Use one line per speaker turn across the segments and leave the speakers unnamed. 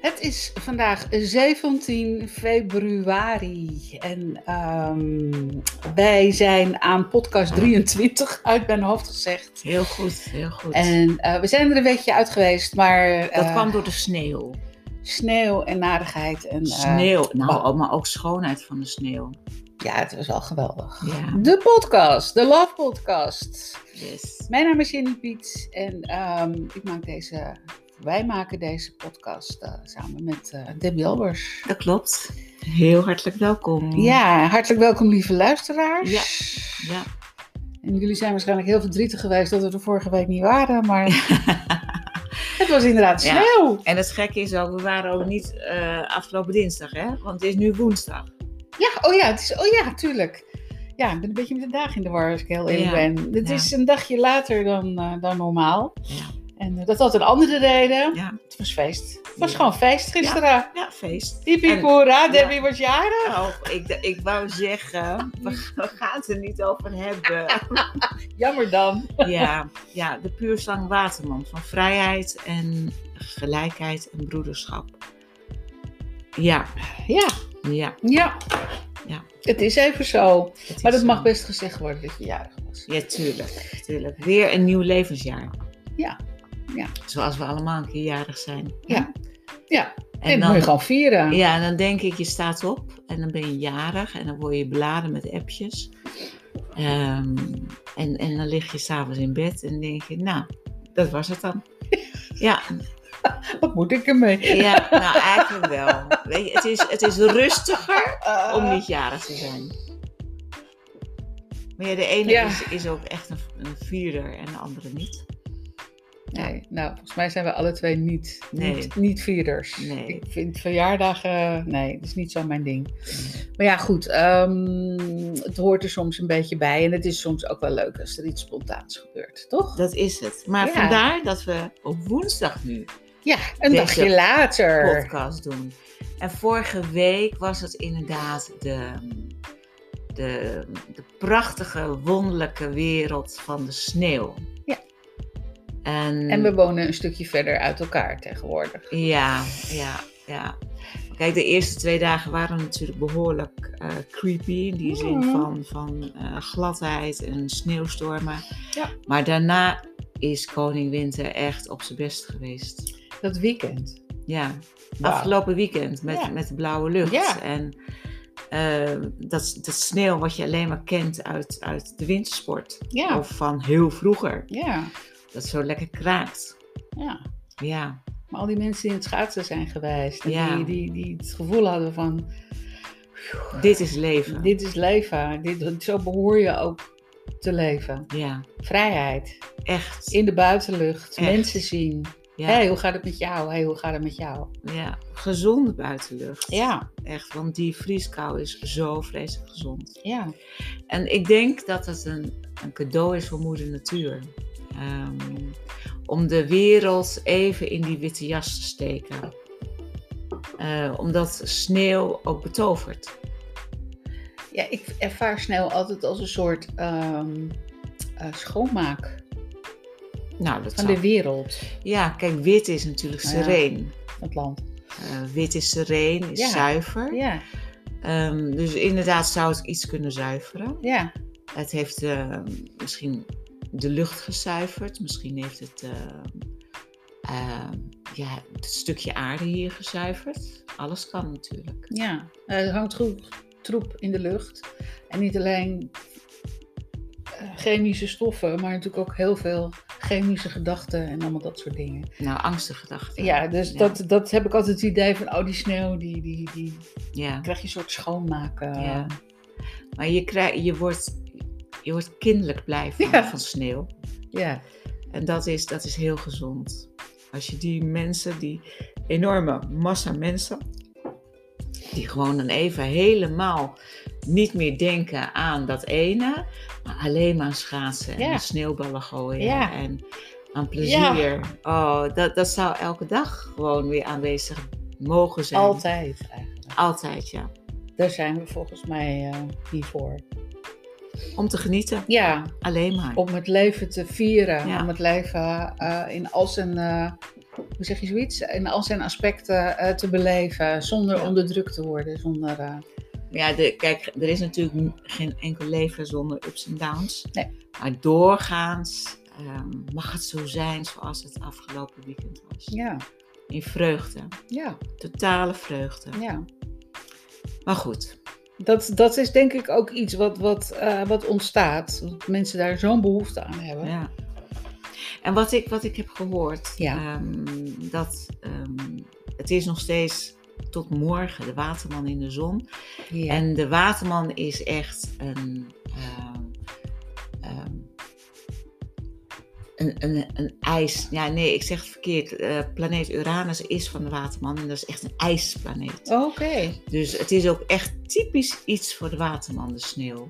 Het is vandaag 17 februari en ehm, wij zijn aan podcast 23 uit mijn hoofd gezegd.
Heel goed, heel goed.
En eh, we zijn er een weekje uit geweest, maar
dat
eh,
kwam door de sneeuw.
sneeuw en narigheid. En, eh,
Sneeuw, nou,
wa-
maar ook schoonheid van de sneeuw.
ja, het was wel geweldig.
Ja,
De podcast, de Love Podcast.
yes.
Mijn naam is Jenny Piet en ehm, ik maak deze, wij maken deze podcast eh, samen met eh, Debbie Albers.
Dat klopt. Heel hartelijk welkom.
Ja, hartelijk welkom lieve luisteraars.
Ja. Mm. Ja,
En jullie zijn waarschijnlijk heel verdrietig geweest dat we er vorige week niet waren, maar het was inderdaad
Ja.
sneeuw.
en het gekke is ook, we waren ook niet eh, afgelopen dinsdag, hè? Want het is nu woensdag.
Ja, oh ja, het is, oh ja, tuurlijk. Ja, ik ben een beetje met de dag in de war als ik heel eerlijk
Ja,
ben. Het
ja.
is een dagje later dan, eh, dan normaal.
Ja.
En eh, dat had een andere reden.
Ja,
Het was feest. Het was
Ja.
gewoon feest gisteren.
ja feest.
Hippie
En-
hoera, Debbie was jarig.
Oh, ik, d- ik wou zeggen, we, we gaan het er niet over hebben.
Jammer dan.
Ja, ja de puurzang Waterman van vrijheid en gelijkheid en broederschap. Ja,
Ja,
ja.
ja.
Ja.
Het is even zo.
het
Maar
is
dat
zo.
mag best gezegd worden dat je jarig was.
Ja, tuurlijk, tuurlijk. Weer een nieuw levensjaar.
Ja, ja.
Zoals we allemaal een keer jarig zijn.
Ja, ja. En,
En
dan moet je
dan,
gewoon vieren.
ja, en dan denk ik, je staat op en dan ben je jarig en dan word je beladen met appjes. Ehm, en, en dan lig je s'avonds in bed en denk je, nou, dat was het dan. Ja,
Wat moet ik ermee?
ja nou eigenlijk wel. Weet je, het, is, het is rustiger
Eh,
om niet jarig te zijn. Maar ja, de ene
Ja.
Is, is ook echt een, een vierder en de andere niet.
Nee, nou, volgens mij zijn we alle twee niet,
Nee.
niet, niet vierders.
Nee.
Ik vind verjaardagen, nee, dat is niet zo mijn ding. Maar ja, goed, ehm, het hoort er soms een beetje bij. En het is soms ook wel leuk als er iets spontaans gebeurt, toch?
Dat is het. Maar
Ja.
vandaar dat we op woensdag nu
Ja, een
Deze
dagje later.
podcast doen. En vorige week was het inderdaad de, de, de prachtige, wonderlijke wereld van de sneeuw.
Ja.
En,
En we wonen een stukje verder uit elkaar tegenwoordig.
Ja, ja, ja. Kijk, de eerste twee dagen waren natuurlijk behoorlijk eh, creepy. In die zin
Mhm.
van, van eh, gladheid en sneeuwstormen.
Ja.
Maar daarna is Koning Winter echt op zijn best geweest.
Dat weekend.
Ja,
Wauw.
afgelopen weekend met,
Ja.
met de blauwe lucht.
Ja.
En eh, dat, dat sneeuw wat je alleen maar kent uit, uit de wintersport.
Ja,
Of van heel vroeger.
ja,
Dat zo lekker kraakt.
ja.
Ja,
Maar al die mensen die in het schaatsen zijn geweest. En
Ja.
die, die, die het gevoel hadden van,
dit is leven.
dit is leven. Dit, zo behoor je ook te leven.
Ja,
Vrijheid.
echt.
In de buitenlucht.
Echt.
Mensen zien.
Ja,
Hé, hey, hoe gaat het met jou? Hé, hey, hoe gaat het met jou?
ja. gezonde buitenlucht.
Ja,
Echt, want die vrieskou is zo vreselijk gezond.
ja.
En ik denk dat het een, een cadeau is voor moeder natuur. Ehm, om de wereld even in die witte jas te steken. Eh, omdat sneeuw ook betovert.
Ja, ik ervaar snel altijd als een soort ehm, eh, schoonmaak
Nou, dat
van
zou-
de wereld.
Ja, kijk, wit is natuurlijk
Nou ja.
sereen.
Van het land.
Eh, wit is sereen, is
Ja.
zuiver.
Ja,
Ehm, dus inderdaad zou het iets kunnen zuiveren.
ja.
Het heeft eh, misschien de lucht gezuiverd. Misschien heeft het eh, eh, ja, het stukje aarde hier gezuiverd. Alles kan natuurlijk.
ja. Eh, er hangt goed troep in de lucht. En niet alleen eh, chemische stoffen, maar natuurlijk ook heel veel chemische gedachten en allemaal dat soort dingen.
Nou, angstige gedachten.
Ja, dus Dat, dat heb ik altijd het idee van, oh die sneeuw, die, die, die
Ja,
krijg je een soort schoonmaken.
ja. Maar je, krijg, je, wordt, je wordt kinderlijk blij van,
Ja.
van sneeuw.
ja.
En dat is, dat is heel gezond. Als je die mensen, die enorme massa mensen, die gewoon dan even helemaal niet meer denken aan dat ene, maar alleen maar aan schaatsen en
Ja.
aan sneeuwballen gooien
Ja.
en aan plezier. Oh, dat, dat zou elke dag gewoon weer aanwezig mogen zijn.
Altijd eigenlijk.
Altijd, ja.
Daar zijn we volgens mij eh, hier voor.
Om te genieten,
Ja,
alleen maar.
om het leven te vieren.
Ja.
Om het leven eh, in al zijn eh, hoe zeg je zoiets, in al zijn aspecten eh, te beleven zonder
Ja.
onder druk te worden. Zonder, eh,
Ja, de, kijk, er is natuurlijk n- geen enkel leven zonder ups en downs.
Nee.
Maar doorgaans ehm, mag het zo zijn zoals het afgelopen weekend was.
ja,
In vreugde.
ja,
Totale vreugde.
ja.
Maar goed,
Dat, dat is denk ik ook iets wat, wat, eh, wat ontstaat. Dat mensen daar zo'n behoefte aan hebben.
ja. En wat ik, wat ik heb gehoord,
Ja.
ehm, dat ehm, het is nog steeds tot morgen de waterman in de zon.
Ja.
En de waterman is echt een, ehm, ehm, een, een, een ijs. Ja, nee, ik zeg het verkeerd. Eh, planeet Uranus is van de waterman en dat is echt een ijsplaneet.
Oké,
Dus het is ook echt typisch iets voor de waterman, de sneeuw.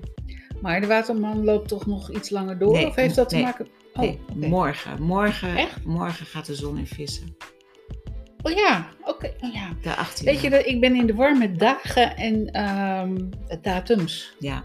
maar de waterman loopt toch nog iets langer door?
Nee,
of heeft dat
nee,
te maken... Oh,
Nee,
oké.
morgen. Morgen,
Echt?
morgen gaat de zon in vissen.
Oh ja, oké. Oh, ja.
De 18e.
Weet je, dat ik ben in de war met dagen en ehm, datums.
Ja.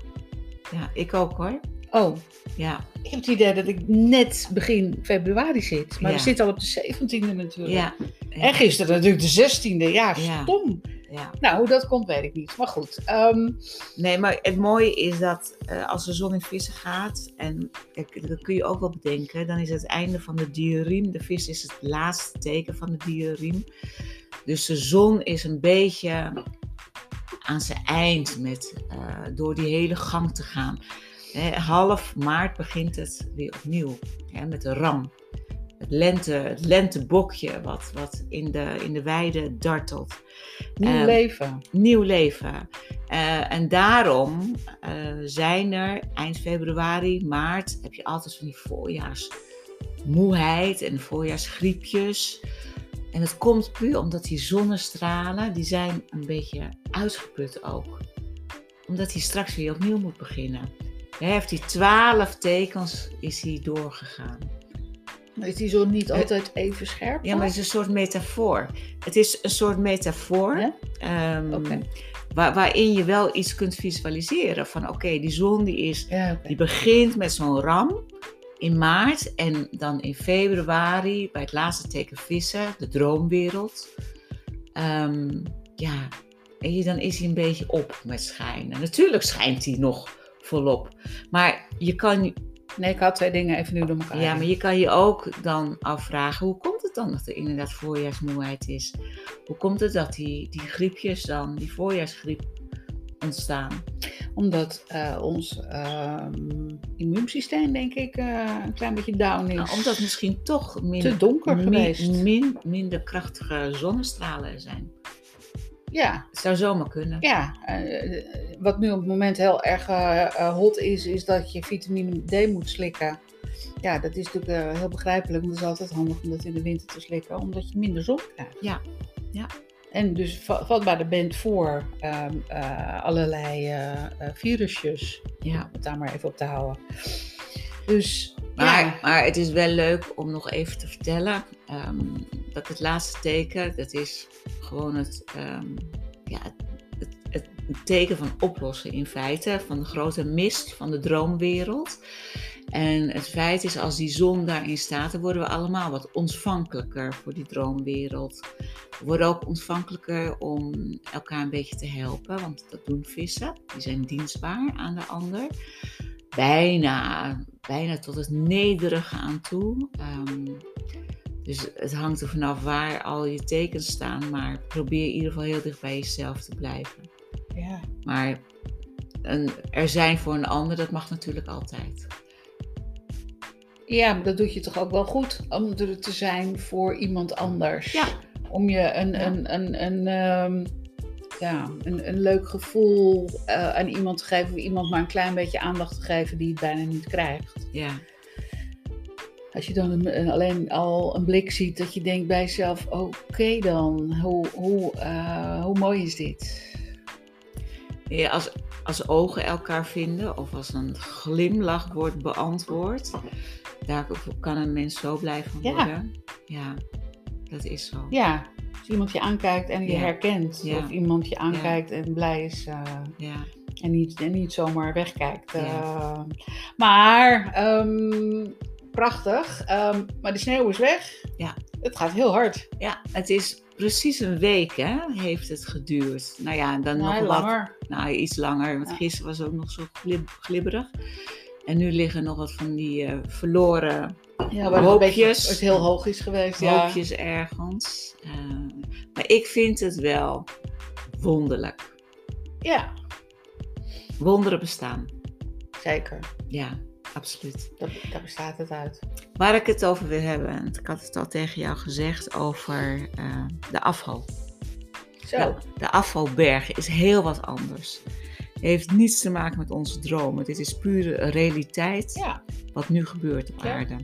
ja, ik ook hoor.
Oh,
Ja,
ik heb het idee dat ik net begin februari zit. Maar
Ja.
we zitten al op de 17e natuurlijk.
ja,
En gisteren natuurlijk de 16e. Ja,
Ja.
stom.
ja.
Nou, hoe dat komt weet ik niet. Maar goed. ehm,
Nee, maar het mooie is dat eh, als de zon in vissen gaat, en ik- dat kun je ook wel bedenken, dan is het einde van de diuriem. De vis is het laatste teken van de diuriem. Dus de zon is een beetje aan zijn eind met eh, door die hele gang te gaan. Hè, half maart begint het weer opnieuw hè, met de ram. Het, lente, het lentebokje wat, wat in, de, in de weide dartelt
nieuw
Ehm,
leven.
nieuw leven. Eh, en daarom eh, zijn er eind februari, maart, heb je altijd van die voorjaarsmoeheid en voorjaarsgriepjes. En dat komt puur omdat die zonnestralen, die zijn een beetje uitgeput ook. Omdat hij straks weer opnieuw moet beginnen. Hij heeft die twaalf tekens is hij doorgegaan.
Is die zon niet
eh,
altijd even scherp?
Ja, maar het is een soort metafoor. Het is een soort metafoor
Ja?
ehm,
Oké.
waar- waarin je wel iets kunt visualiseren. Van oké, die zon die, is,
Ja, oké.
die begint met zo'n ram in maart en dan in februari bij het laatste teken vissen, de droomwereld. Ehm, ja, en je, dan is hij een beetje op met schijnen. Natuurlijk schijnt hij nog volop. Maar je kan
Nee, ik had twee dingen even nu door elkaar.
ja, maar je kan je ook dan afvragen, hoe komt het dan dat er inderdaad voorjaarsmoeheid is? Hoe komt het dat die, die griepjes dan, die voorjaarsgriep, ontstaan?
Omdat eh, ons ehm, immuunsysteem, denk ik, eh, een klein beetje down is.
Nou, omdat misschien toch
te
minder,
donker
mi-
geweest.
min- minder krachtige zonnestralen er zijn.
Ja,
Het zou zomaar kunnen.
ja. eh, wat nu op het moment heel erg eh, eh, hot is, is dat je vitamine D moet slikken. Ja, dat is natuurlijk eh, heel begrijpelijk, maar het is altijd handig om dat in de winter te slikken, omdat je minder zon krijgt.
Ja, ja.
En dus va- vatbaarder bent voor ehm, eh, allerlei eh, eh, virusjes,
Ja.
om het daar maar even op te houden. Dus,
Maar,
ja.
maar het is wel leuk om nog even te vertellen ehm, dat het laatste teken, dat is gewoon het, ehm, ja, het, het, het- het teken van oplossen in feite, van de grote mist van de droomwereld. En het feit is, als die zon daarin staat, dan worden we allemaal wat ontvankelijker voor die droomwereld. We worden ook ontvankelijker om elkaar een beetje te helpen, want dat doen vissen. Die zijn dienstbaar aan de ander. Bijna bijna tot het nederige aan toe. Ehm, dus het hangt er vanaf waar al je tekens staan, maar probeer in ieder geval heel dicht bij jezelf te blijven.
ja.
Maar een, er zijn voor een ander, dat mag natuurlijk altijd.
Ja, maar dat doet je toch ook wel goed om er te zijn voor iemand anders.
Ja.
Om je een,
Ja.
een, een, een, ehm, ja, een, een leuk gevoel eh, aan iemand te geven. Of iemand maar een klein beetje aandacht te geven die het bijna niet krijgt.
Ja,
Als je dan een- een- alleen al een blik ziet dat je denkt bij jezelf... Oké dan, hoe, hoe, eh, hoe mooi is dit?
Ja, als, als ogen elkaar vinden of als een glimlach wordt beantwoord, daar kan een mens zo blij van
Ja.
worden. Ja, dat is zo.
Ja, als iemand je aankijkt en je
Ja.
herkent.
Ja.
Of iemand je aankijkt en blij is... eh,
Ja,
En niet, en niet zomaar wegkijkt.
Ja.
Eh, maar, ehm, prachtig. Ehm, maar de Ehm, sneeuw is weg.
Ja.
Het gaat heel hard.
Ja, het is precies een week hè, heeft het geduurd. Nou ja, en dan
Nou,
nog wat
langer.
Nou, iets langer, want
Ja.
gisteren was ook nog zo glib- glibberig. En nu liggen nog wat van die eh, verloren
Ja, waar het, een beetje,
Hoopjes.
het heel hoog is geweest. Ja.
hoopjes ergens. Eh, maar ik vind het wel wonderlijk.
ja,
Wonderen bestaan.
zeker.
Ja, absoluut.
Dat, daar bestaat het uit.
Waar ik het over wil hebben, en ik had het al tegen jou gezegd, over eh, de afval.
Zo.
Ja, de afvalberg is heel wat anders. Heeft niets te maken met onze dromen. Dit is pure realiteit
Ja.
wat nu gebeurt op
Ja.
aarde.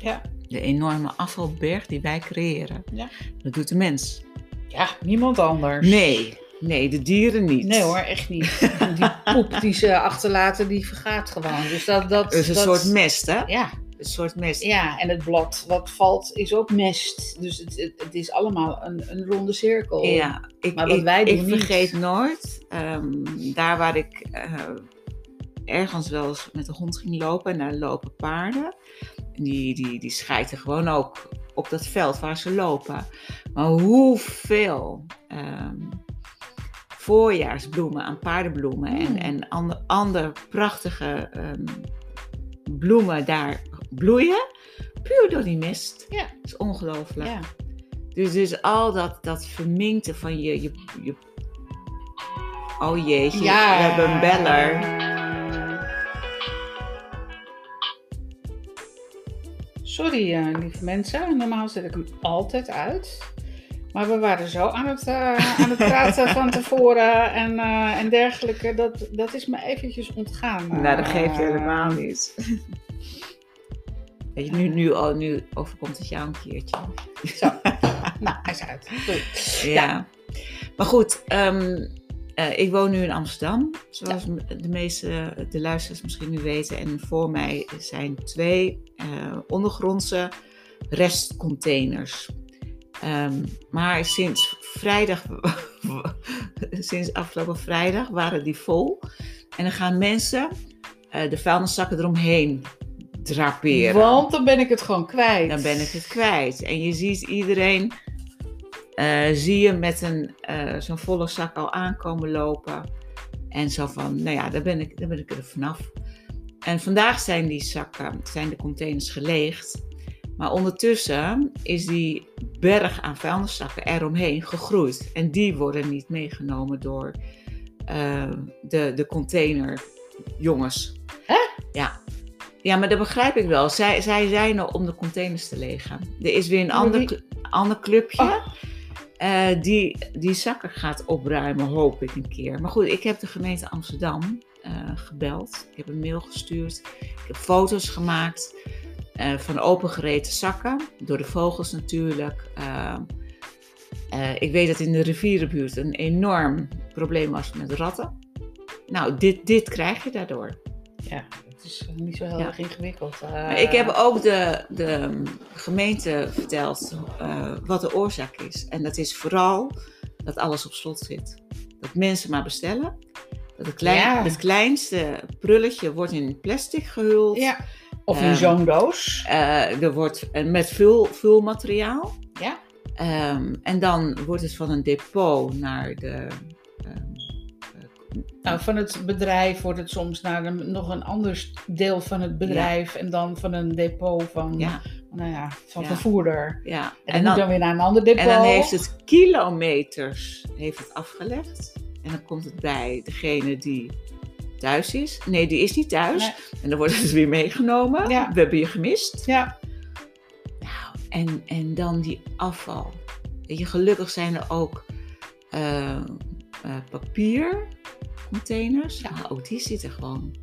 Ja.
De enorme afvalberg die wij creëren.
Ja.
Dat doet de mens.
ja, niemand anders.
Nee, nee, de dieren niet.
Nee hoor, echt niet. Die poep die ze achterlaten, die vergaat gewoon. Dus dat... dat
Het is een
dat-
soort mest, hè?
Ja,
Een soort mest.
ja, en het blad wat valt is ook mest. Dus het, het, het is allemaal een, een ronde cirkel.
Ja, ik,
Maar wat
ik,
wij doen
ik
niet.
vergeet nooit, ehm, daar waar ik eh, ergens wel eens met de hond ging lopen en daar lopen paarden. En Die, die, die schijten gewoon ook op dat veld waar ze lopen. Maar hoeveel ehm, voorjaarsbloemen aan paardenbloemen en,
Mm.
en ander, ander prachtige ehm, bloemen daar bloeien. Puur door die mist.
Ja.
Dat is ongelooflijk.
Ja.
Dus, dus al dat, dat verminkte van je, je, je... Oh jeetje, we hebben een beller.
Sorry, eh, lieve mensen. Normaal zet ik hem altijd uit. Maar we waren zo aan het, eh, aan het praten van tevoren en, eh, en dergelijke. Dat, dat is me eventjes ontgaan.
Nou, dat geeft
Eh,
helemaal niet. Weet je, nu, nu, al nu overkomt het jou een keertje.
Nou, hij is uit. Doei.
Ja. Maar goed, ehm, eh, ik woon nu in Amsterdam. Zoals m- de meeste de luisteraars misschien nu weten. En voor mij zijn twee eh, ondergrondse restcontainers. Ehm, maar sinds vrijdag, sinds afgelopen vrijdag, waren die vol. En dan gaan mensen eh, de vuilniszakken eromheen draperen.
Want dan ben ik het gewoon kwijt.
Dan ben ik het kwijt. En je ziet iedereen, eh, zie je met een, eh, zo'n volle zak al aankomen lopen. En zo van, nou ja, daar ben ik, daar ben ik er vanaf. En vandaag zijn die zakken, zijn de containers geleegd. Maar ondertussen is die berg aan vuilniszakken eromheen gegroeid. En die worden niet meegenomen door eh, de, de containerjongens.
Hè?
Ja. Ja, maar dat begrijp ik wel. Zij, zij zijn er om de containers te legen. Er is weer een
Maar
ander,
wie-
cl- ander clubje
Oh.
eh, die die zakken gaat opruimen, hoop ik een keer. Maar goed, ik heb de gemeente Amsterdam eh, gebeld. Ik heb een mail gestuurd. Ik heb foto's gemaakt eh, van opengereten zakken. Door de vogels natuurlijk. Eh, eh, ik weet dat in de rivierenbuurt een enorm probleem was met ratten. Nou, dit, dit krijg je daardoor.
Ja, het is eh, niet zo heel
Ja.
erg ingewikkeld. eh.
Maar ik heb ook de, de gemeente verteld eh, wat de oorzaak is. En dat is vooral dat alles op slot zit. Dat mensen maar bestellen. Dat het, klein,
Ja.
het kleinste prulletje wordt in plastic gehuld.
Ja. Of
Ehm,
in zo'n doos.
Eh, er wordt eh, met vul, vulmateriaal.
Ja.
Ehm, en dan wordt het van een depot naar de. ehm,
Nou, van het bedrijf wordt het soms naar een, nog een ander deel van het bedrijf. En dan van een depot van,
ja,
nou ja, van
Ja.
vervoerder.
ja.
En, dan, moet dan weer naar een ander depot.
En dan heeft het kilometers heeft het afgelegd. En dan komt het bij degene die thuis is. Nee, die is niet thuis. En dan wordt het dus weer meegenomen.
Ja.
We hebben je gemist.
Ja,
Nou, en, en dan die afval. Weet je, gelukkig zijn er ook eh, eh, papiercontainers.
Ja.
Maar ook die zitten gewoon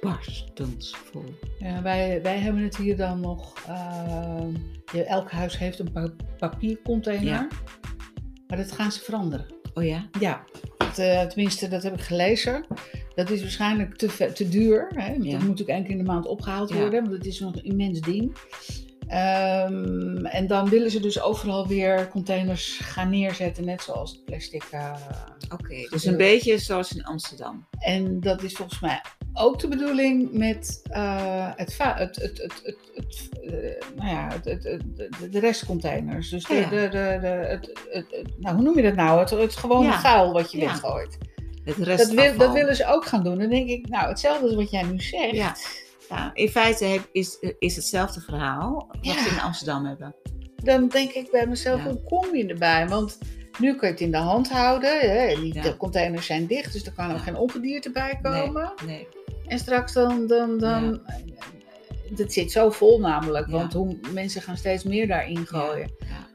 barstens vol.
Ja, wij, wij hebben het hier dan nog. eh, je- elk huis heeft een pa- papiercontainer.
Ja.
Maar dat gaan ze veranderen.
Oh ja?
Ja, dat, eh, tenminste, dat heb ik gelezen. Dat is waarschijnlijk te, ve- te duur. Hè? want
Ja.
Dat moet ook één keer in de maand opgehaald
Ja.
worden, want het is een immens ding. Eh, Ehm, en dan willen ze dus overal weer containers gaan neerzetten, net zoals het plastic. eh.
Oké, dus een beetje zoals in Amsterdam.
En dat is volgens mij ook de bedoeling met eh, het, va- het, het, het, het, het, eh, nou ja, het, het, het- de- de restcontainers. Dus de,
Ja.
de, de, de, het, het- het- nou, hoe noem je dat nou? Het, het gewone
Ja.
vuil wat je
Ja.
weggooit.
Het
Dat,
restafval.
wil, dat willen ze ook gaan doen. Dan denk ik, nou, hetzelfde als wat jij nu zegt.
Ja. Ja, in feite heb- is, is hetzelfde verhaal wat
Ja.
ze in Amsterdam hebben.
dan denk ik bij mezelf,
Ja.
hoe kom je erbij? Want nu kun je het in de hand houden. Hè? en Die
Ja.
de containers zijn dicht, dus er kan ook
Ja.
geen ongedierte bij
Nee.
komen.
Nee.
En straks dan... dan, dan Het zit zo vol namelijk,
Ja.
want hoe, mensen gaan steeds meer daarin gooien.
Ja.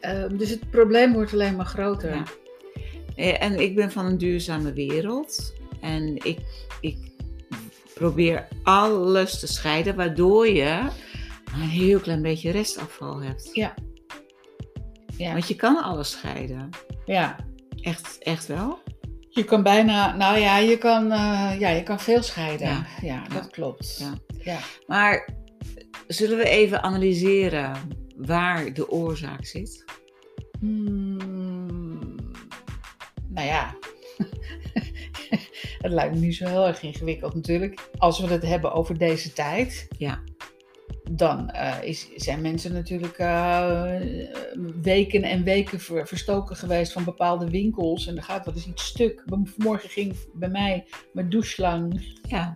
Ehm, dus het probleem wordt alleen maar groter.
Ja. Eh, En ik ben van een duurzame wereld. En ik, ik probeer alles te scheiden, waardoor je maar een heel klein beetje restafval hebt.
Ja. Ja.
Want je kan alles scheiden.
Ja.
Echt, echt wel?
Je kan bijna, nou ja, je kan, eh, ja, je kan veel scheiden.
Ja.
Ja, dat klopt.
Ja.
Ja.
Maar zullen we even analyseren waar de oorzaak zit?
Hmm, nou ja, het lijkt me niet zo heel erg ingewikkeld natuurlijk. Als we het hebben over deze tijd,
Ja.
dan eh, is, zijn mensen natuurlijk eh, weken en weken ver- verstoken geweest van bepaalde winkels. En er gaat wel eens iets stuk. Vanmorgen ging bij mij mijn doucheslang
Ja.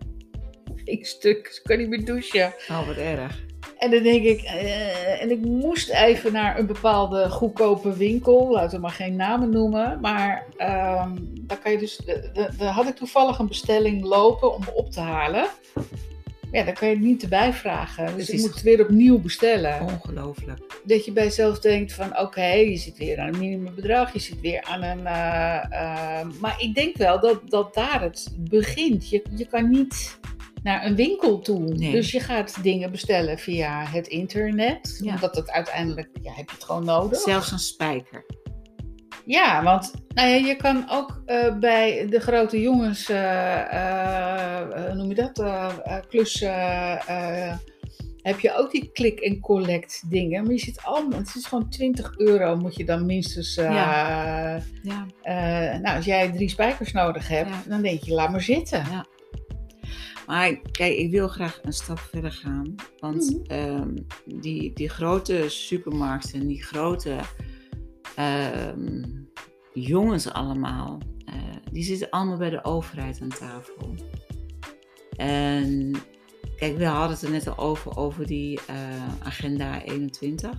ging stuk. Dus ik kan niet meer douchen.
Oh, wat erg.
En dan denk ik, eh, en ik moest even naar een bepaalde goedkope winkel, laten we maar geen namen noemen. Maar ehm daar kan je dus, de- de- daar had ik toevallig een bestelling lopen om op te halen. Ja, daar kan je het niet erbij vragen. Dus
Het
ik
is-
moet het weer opnieuw bestellen.
Ongelooflijk.
Dat je bij jezelf denkt van oké, je zit weer aan een minimumbedrag, je zit weer aan een... eh, eh, maar ik denk wel dat, dat daar het begint. Je, je kan niet naar een winkel toe.
Nee.
Dus je gaat dingen bestellen via het internet.
Ja.
Omdat dat uiteindelijk, ja, heb je het gewoon nodig.
Zelfs een spijker.
Ja, want nou ja, je kan ook eh, bij de grote jongens, eh, eh, hoe noem je dat, eh, eh, klussen, eh, heb je ook die click en collect dingen. Maar je zit allemaal, het is gewoon 20 euro moet je dan minstens, eh,
Ja.
eh, nou als jij drie spijkers nodig hebt,
Ja.
dan denk je laat maar zitten.
Maar kijk, ik wil graag een stap verder gaan. Want ehm, die, die grote supermarkten, die grote ehm, jongens allemaal, eh, die zitten allemaal bij de overheid aan tafel. En kijk, we hadden het er net al over, over die eh, agenda 21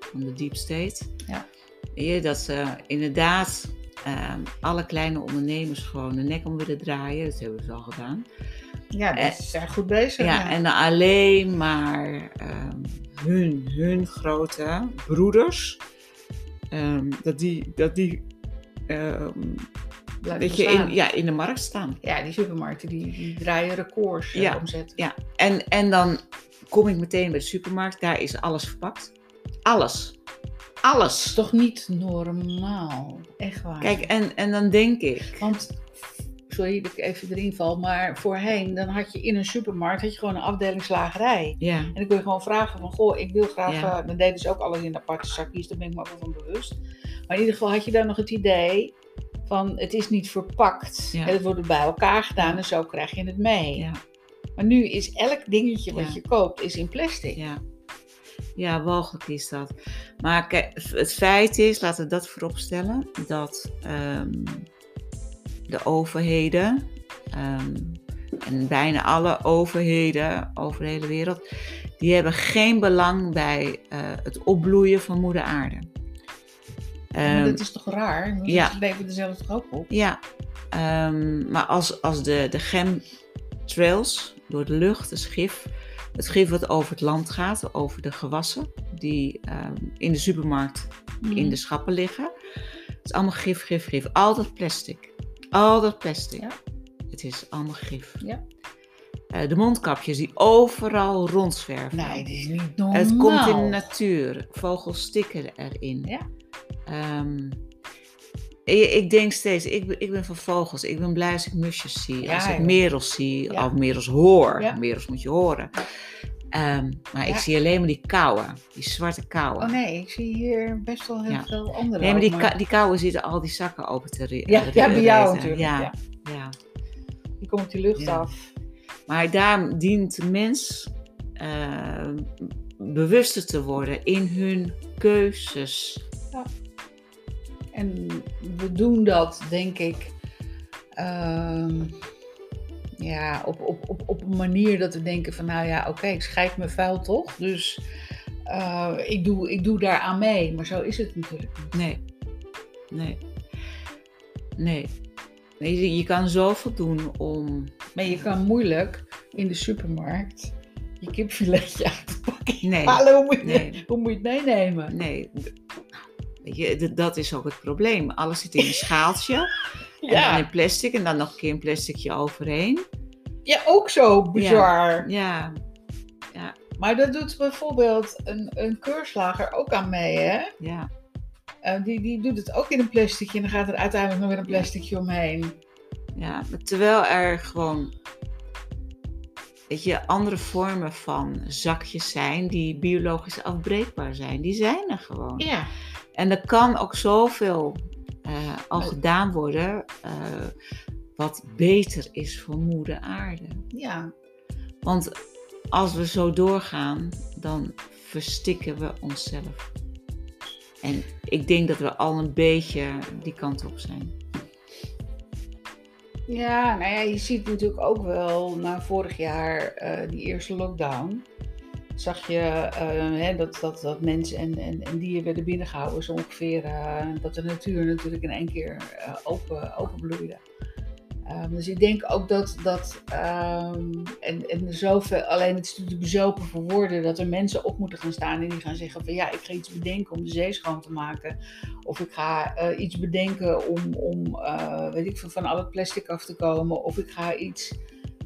van de Deep State.
Ja.
Weet je, dat ze inderdaad ehm, alle kleine ondernemers gewoon de nek om willen draaien. Dat hebben ze al gedaan.
Ja, dat
Eh,
is erg goed bezig.
Ja, en alleen maar ehm, hun, hun grote broeders, ehm, dat die, dat die ehm,
Blijf
weet je,
bestaan.
in, ja, in de markt staan.
Ja, die supermarkten die, die draaien records eh,
Ja.
omzet.
Ja, en, en dan kom ik meteen bij de supermarkt, daar is alles verpakt. Alles.
is
Alles.
toch niet normaal? Echt waar.
Kijk, en, en dan denk ik,
Want, sorry dat ik even erin val, maar voorheen dan had je in een supermarkt had je gewoon een afdeling slagerij.
ja,
En dan kon je gewoon vragen van, goh, ik wil graag,
Ja.
eh, dan deden ze ook alles in aparte zakjes, daar ben ik me ook wel van bewust. Maar in ieder geval had je daar nog het idee van, het is niet verpakt.
Ja.
En het wordt bij elkaar gedaan en zo krijg je het mee.
ja,
Maar nu is elk dingetje wat
Ja.
je koopt, is in plastic.
ja. Ja, walgelijk is dat. Maar kijk, het feit is, laten we dat vooropstellen, dat ehm, de overheden ehm, en bijna alle overheden over de hele wereld, die hebben geen belang bij eh, het opbloeien van moeder aarde.
Maar
Ehm,
dat is toch raar? Dan
ja.
leven er zelf toch ook op?
ja, ehm, maar als, als de, de chemtrails door de lucht, het gif, het gif wat over het land gaat, over de gewassen die ehm, in de supermarkt
Mhm.
in de schappen liggen. Het is allemaal gif, gif, gif. Al dat plastic. Al dat plastic.
Ja.
Het is allemaal gif.
Ja.
Eh, de mondkapjes die overal rondzwerven.
Nee, dat is niet normaal.
Het komt in de natuur. Vogels stikken erin.
nou. Ja.
Ehm, ik ik denk steeds, ik ben, ik ben van vogels. Ik ben blij als ik musjes zie,
Ja,
als ik
joh.
merels zie,
Ja.
of merels hoor.
Ja.
Merels moet je horen. Ehm, maar ik
Ja.
zie alleen maar die kauwen, die zwarte kauwen.
Oh nee, ik zie hier best wel heel
Ja.
veel andere.
Nee, maar die,
ook,
ka- die kauwen zitten al die zakken open te ri-
Ja,
eh,
ja, bij jou
reten.
natuurlijk.
Ja,
Ja.
ja.
Die komt die lucht
Ja.
af.
Maar daar dient de mens eh, bewuster te worden in hun keuzes.
En we doen dat, denk ik, ehm, ja, op, op, op, op een manier dat we denken van, nou ja, oké, ik scheid me vuil toch, dus eh, ik, doe, ik doe daaraan mee. Maar zo is het natuurlijk niet.
Nee, nee, nee. Nee, Je, je kan zoveel doen om.
Maar je kan moeilijk in de supermarkt je kipfiletje uit de pakking
Nee,
halen. Hoe moet, je,
nee,
hoe moet je het meenemen?
nee. Weet je, d- dat is ook het probleem. Alles zit in een schaaltje. En dan
Ja,
in plastic en dan nog een keer een plasticje overheen.
ja, ook zo bizar.
Ja,
Maar dat doet bijvoorbeeld een, een keurslager ook aan mee, hè?
ja.
Eh, die, die doet het ook in een plasticje en dan gaat er uiteindelijk nog weer een plasticje omheen.
Ja, maar terwijl er gewoon weet je, andere vormen van zakjes zijn die biologisch afbreekbaar zijn. Die zijn er gewoon.
Ja.
En er kan ook zoveel eh, al
Nee.
gedaan worden eh, wat beter is voor moeder aarde.
Ja,
Want als we zo doorgaan, dan verstikken we onszelf. En ik denk dat we al een beetje die kant op zijn.
ja nou ja, je ziet natuurlijk ook wel na vorig jaar eh, die eerste lockdown. Zag je eh, hè, dat, dat, dat mensen en, en, en dieren werden binnengehouden, zo ongeveer. eh, dat de natuur natuurlijk in één keer eh, open, openbloeide. Ehm, dus ik denk ook dat, dat ehm, en, en er zoveel, alleen het is natuurlijk bezopen voor woorden, dat er mensen op moeten gaan staan en die gaan zeggen van ja, ik ga iets bedenken om de zee schoon te maken. Of ik ga eh, iets bedenken om, om eh, weet ik veel, van al het plastic af te komen. Of ik ga iets,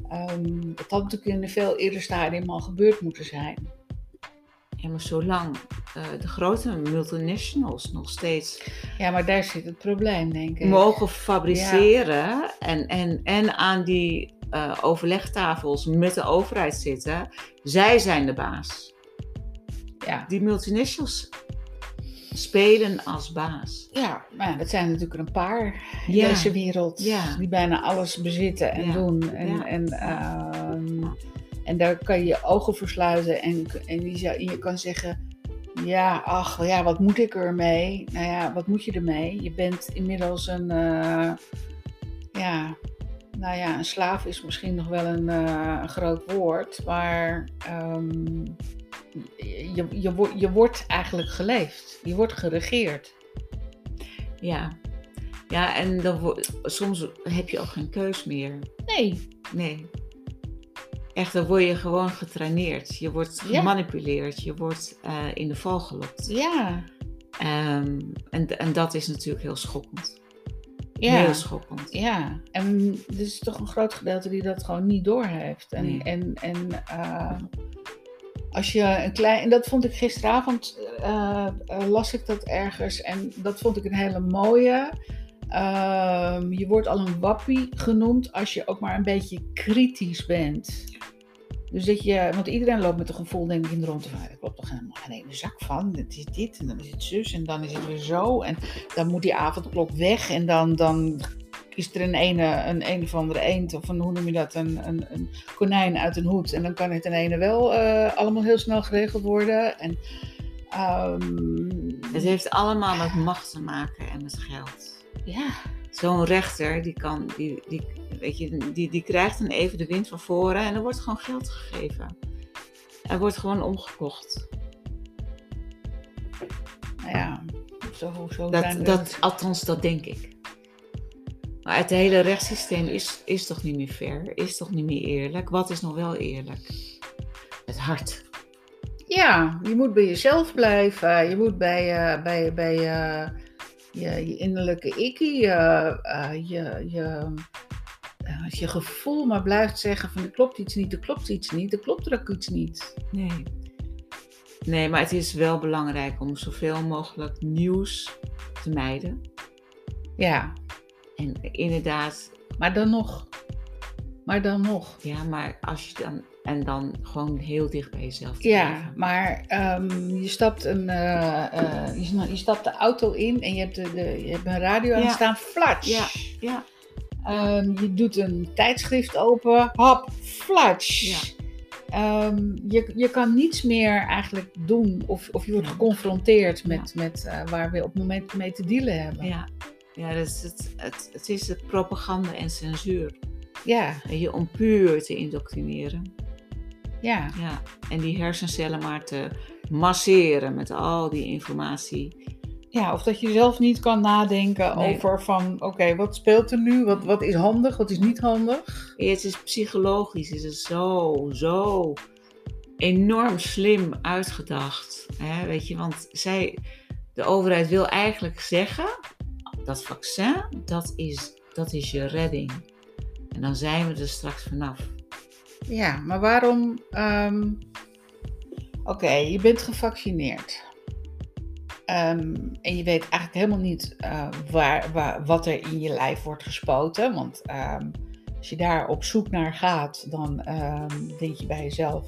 ehm, dat had natuurlijk in een veel eerder stadium al gebeurd moeten zijn.
Ja, maar zolang eh, de grote multinationals nog steeds
Ja, maar daar zit het probleem, denk ik.
mogen fabriceren en, en, en aan die eh, overlegtafels met de overheid zitten. Zij zijn de baas.
Ja.
Die multinationals spelen als baas.
Ja, maar ja, dat zijn natuurlijk er een paar in
Ja.
deze wereld
Ja.
die bijna alles bezitten en
Ja.
doen. En,
Ja.
en, ehm, en daar kan je je ogen voor sluiten en, en je, zou- je kan zeggen, ja, ach, ja, wat moet ik ermee? Nou ja, wat moet je ermee? Je bent inmiddels een, eh, ja, nou ja, een slaaf is misschien nog wel een, eh, een groot woord, maar ehm, je, je, wo- je wordt eigenlijk geleefd, je wordt geregeerd.
Ja, ja en dan wo- soms heb je ook geen keus meer.
Nee,
Nee. Echt, dan word je gewoon getraineerd. Je wordt
Ja.
gemanipuleerd. Je wordt eh, in de val gelokt.
Ja,
Ehm, en, en dat is natuurlijk heel schokkend.
ja.
Heel schokkend.
Ja, en er is toch een groot gedeelte die dat gewoon niet doorheeft. En,
Nee.
en, en eh, als je een klein. En dat vond ik gisteravond, eh, eh, las ik dat ergens. En dat vond ik een hele mooie. Ehm, je wordt al een wappie genoemd als je ook maar een beetje kritisch bent. Dus dat je, want iedereen loopt met een gevoel, denk ik, in de rondte van, er klopt toch helemaal geen ene zak van. Dit is dit, en dan is het zus, en dan is het weer zo. En dan moet die avondklok weg, en dan, dan is er een, ene, een een of andere eend, of een, hoe noem je dat, een, een, een konijn uit een hoed. En dan kan het een ene wel eh, allemaal heel snel geregeld worden. En, ehm,
Het heeft allemaal met macht te maken en met geld.
ja,
Zo'n rechter, die, kan, die, die, weet je, die, die krijgt dan even de wind van voren en er wordt gewoon geld gegeven. Er wordt gewoon omgekocht.
nou ja, zo, zo zijn we-
Dat, dat, althans, dat denk ik. Maar het hele rechtssysteem is, is toch niet meer fair? Is toch niet meer eerlijk? Wat is nog wel eerlijk? Het hart.
Ja, je moet bij jezelf blijven. Je moet bij, eh, bij, bij eh, je, je innerlijke ikkie, eh, eh, je, je, eh, als je gevoel maar blijft zeggen van er klopt iets niet, er klopt iets niet, er klopt er ook iets niet.
Nee. Nee, maar het is wel belangrijk om zoveel mogelijk nieuws te mijden.
Ja,
En inderdaad,
maar dan nog. Maar dan nog.
ja, maar als je dan En dan gewoon heel dicht bij jezelf te
Ja,
blijven.
maar ehm, je, stapt een, eh, eh, je, sna- je stapt de auto in en je hebt, de, de- je hebt een radio aan
Ja.
staan. Flats.
Ja. Ja,
Ehm, je doet een tijdschrift open. Hap. Flats.
Ja.
Ehm, je, je kan niets meer eigenlijk doen of, of je wordt
Ja.
geconfronteerd met, met eh, waar we op het moment mee te dealen hebben.
ja. ja dat is het, het, het is het propaganda en censuur.
Ja,
Weet Je om puur te indoctrineren.
ja.
Ja. En die hersencellen maar te masseren met al die informatie.
Ja, of dat je zelf niet kan nadenken
Nee.
over van, oké, wat speelt er nu? Wat, wat is handig? Wat is niet handig?
Ja, Het is psychologisch, het is zo, zo enorm slim uitgedacht. Hè? Weet je, want zij, de overheid wil eigenlijk zeggen, dat vaccin, dat is, dat is je redding. En dan zijn we er straks vanaf.
Ja, maar waarom? ehm, oké, je bent gevaccineerd. Ehm, en je weet eigenlijk helemaal niet eh, waar, waar, wat er in je lijf wordt gespoten. Want ehm, als je daar op zoek naar gaat, dan ehm, denk je bij jezelf.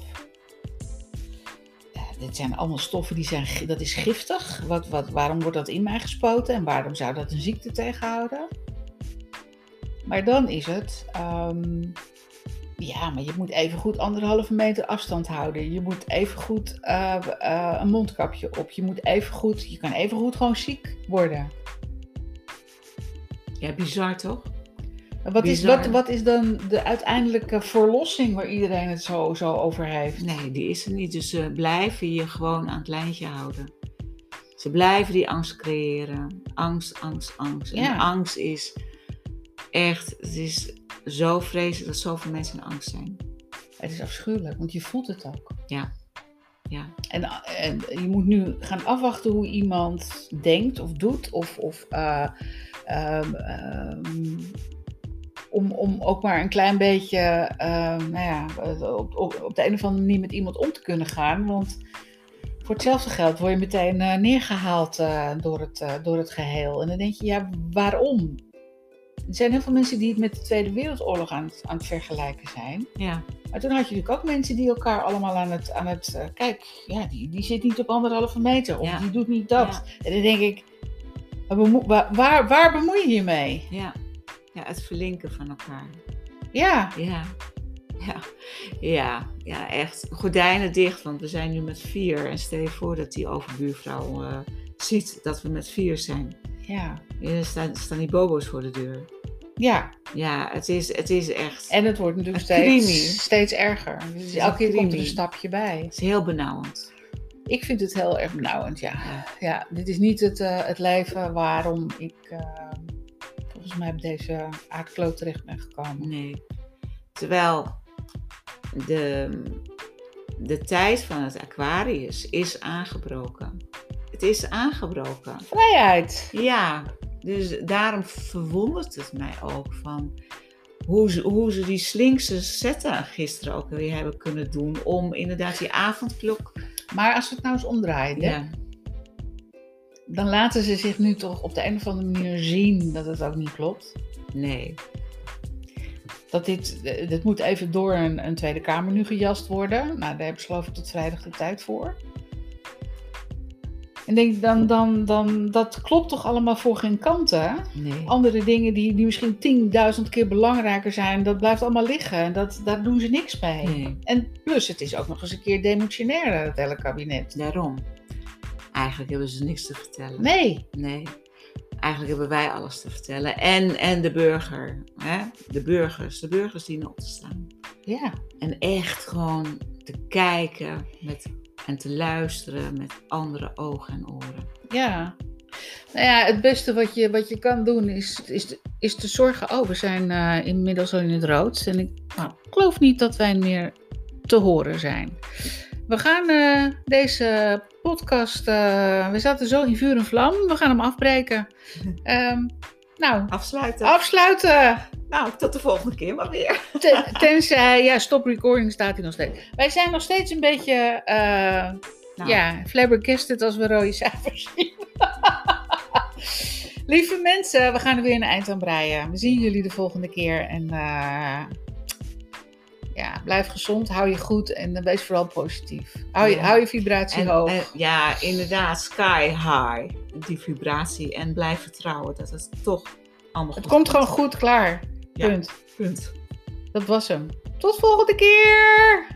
"Eh, Dit zijn allemaal stoffen die zijn, gi- dat is giftig. Wat, wat, waarom wordt dat in mij gespoten en waarom zou dat een ziekte tegenhouden? Maar dan is het, ehm, ja, maar je moet even goed anderhalve meter afstand houden. Je moet even goed eh, een mondkapje op. Je moet even goed, je kan even goed gewoon ziek worden.
Ja, bizar toch?
Wat is,
Bizar.
wat, wat is dan de uiteindelijke verlossing waar iedereen het zo, zo over heeft?
Nee, die is er niet. Dus ze blijven je gewoon aan het lijntje houden. Ze blijven die angst creëren. Angst, angst, angst.
Ja.
En angst is echt, het is zo vreselijk dat zoveel mensen in angst zijn.
Het is afschuwelijk, want je voelt het ook.
Ja,
En, en je moet nu gaan afwachten hoe iemand denkt of doet. Of, of, eh, ehm, ehm, om, om ook maar een klein beetje ehm, nou ja, op, op, op de een of andere manier met iemand om te kunnen gaan. Want voor hetzelfde geld word je meteen eh, neergehaald eh, door, het, eh, door het geheel. En dan denk je, ja, waarom? Er zijn heel veel mensen die het met de Tweede Wereldoorlog aan het, aan het vergelijken zijn.
ja,
Maar toen had je natuurlijk ook mensen die elkaar allemaal aan het... Aan het eh, kijk, ja, die, die zit niet op anderhalve meter. Of
Ja.
die doet niet dat. En dan denk ik, waar, bemo- waar, waar, waar bemoei je je mee?
ja. Ja, het verlinken van elkaar.
Ja,
Ja. Ja. ja, ja, echt. Gordijnen dicht, want we zijn nu met vier. En stel je voor dat die overbuurvrouw eh, ziet dat we met vier zijn.
ja,
Ja, Er staan, staan die bobo's voor de deur.
ja.
Ja, het is, het is echt.
En het wordt natuurlijk
Een crimie.
steeds, steeds erger. Dus
is
elke
een
keer komt er een
crimie.
stapje bij.
Het is heel benauwend.
Ik vind het heel erg benauwend, ja.
Ja.
Ja, dit is niet het, eh, het leven waarom ik... eh, volgens mij op deze aardkloot terecht ben gekomen.
Nee. Terwijl de, de tijd van het Aquarius is aangebroken. Het is aangebroken.
Vrijheid!
Ja, dus daarom verwondert het mij ook van hoe ze, hoe ze die slinkse zetten gisteren ook weer hebben kunnen doen om inderdaad die avondklok.
Maar als we het nou eens omdraaien, hè?
Ja,
dan laten ze zich nu toch op de een of andere manier zien dat het ook niet klopt.
nee.
Dat dit, eh, dit moet even door een, een Tweede Kamer nu gejast worden. Nou, daar hebben ze geloof ik tot vrijdag de tijd voor. En denk dan, dan, dan, dat klopt toch allemaal voor geen kant, hè?
Nee.
Andere dingen die, die misschien 10.000 keer belangrijker zijn, dat blijft allemaal liggen. En dat, daar doen ze niks mee.
nee.
En plus, het is ook nog eens een keer demotionair, eh, het hele kabinet.
Daarom. Eigenlijk hebben ze niks te vertellen.
Nee,
Nee. Eigenlijk hebben wij alles te vertellen. En, en de burger. Hè? De burgers. De burgers dienen op te staan.
ja.
En echt gewoon te kijken met, en te luisteren met andere ogen en oren.
Ja. Nou ja, het beste wat je, wat je kan doen is, is, is te zorgen. Oh, we zijn eh, inmiddels al in het rood. En ik nou, ik geloof niet dat wij meer te horen zijn. We gaan eh, deze podcast. eh, we zaten zo in vuur en vlam. We gaan hem afbreken. Ehm, nou,
Afsluiten.
afsluiten.
Nou, tot de volgende keer maar weer.
Ten- tenzij, ja, stop recording staat hier nog steeds. Wij zijn nog steeds een beetje. eh,
Nou,
ja, flabbergasted als we rode cijfers zien. Lieve mensen, we gaan er weer een eind aan breien. We zien jullie de volgende keer. En eh, Ja, blijf gezond, hou je goed en eh, wees vooral positief. Hou je,
Ja.
hou je vibratie
En,
hoog.
eh, ja, inderdaad, sky high. Die vibratie. En blijf vertrouwen dat het toch allemaal
het
goed
komt gewoon goed klaar.
Ja.
Punt.
Punt.
Dat was hem. Tot volgende keer!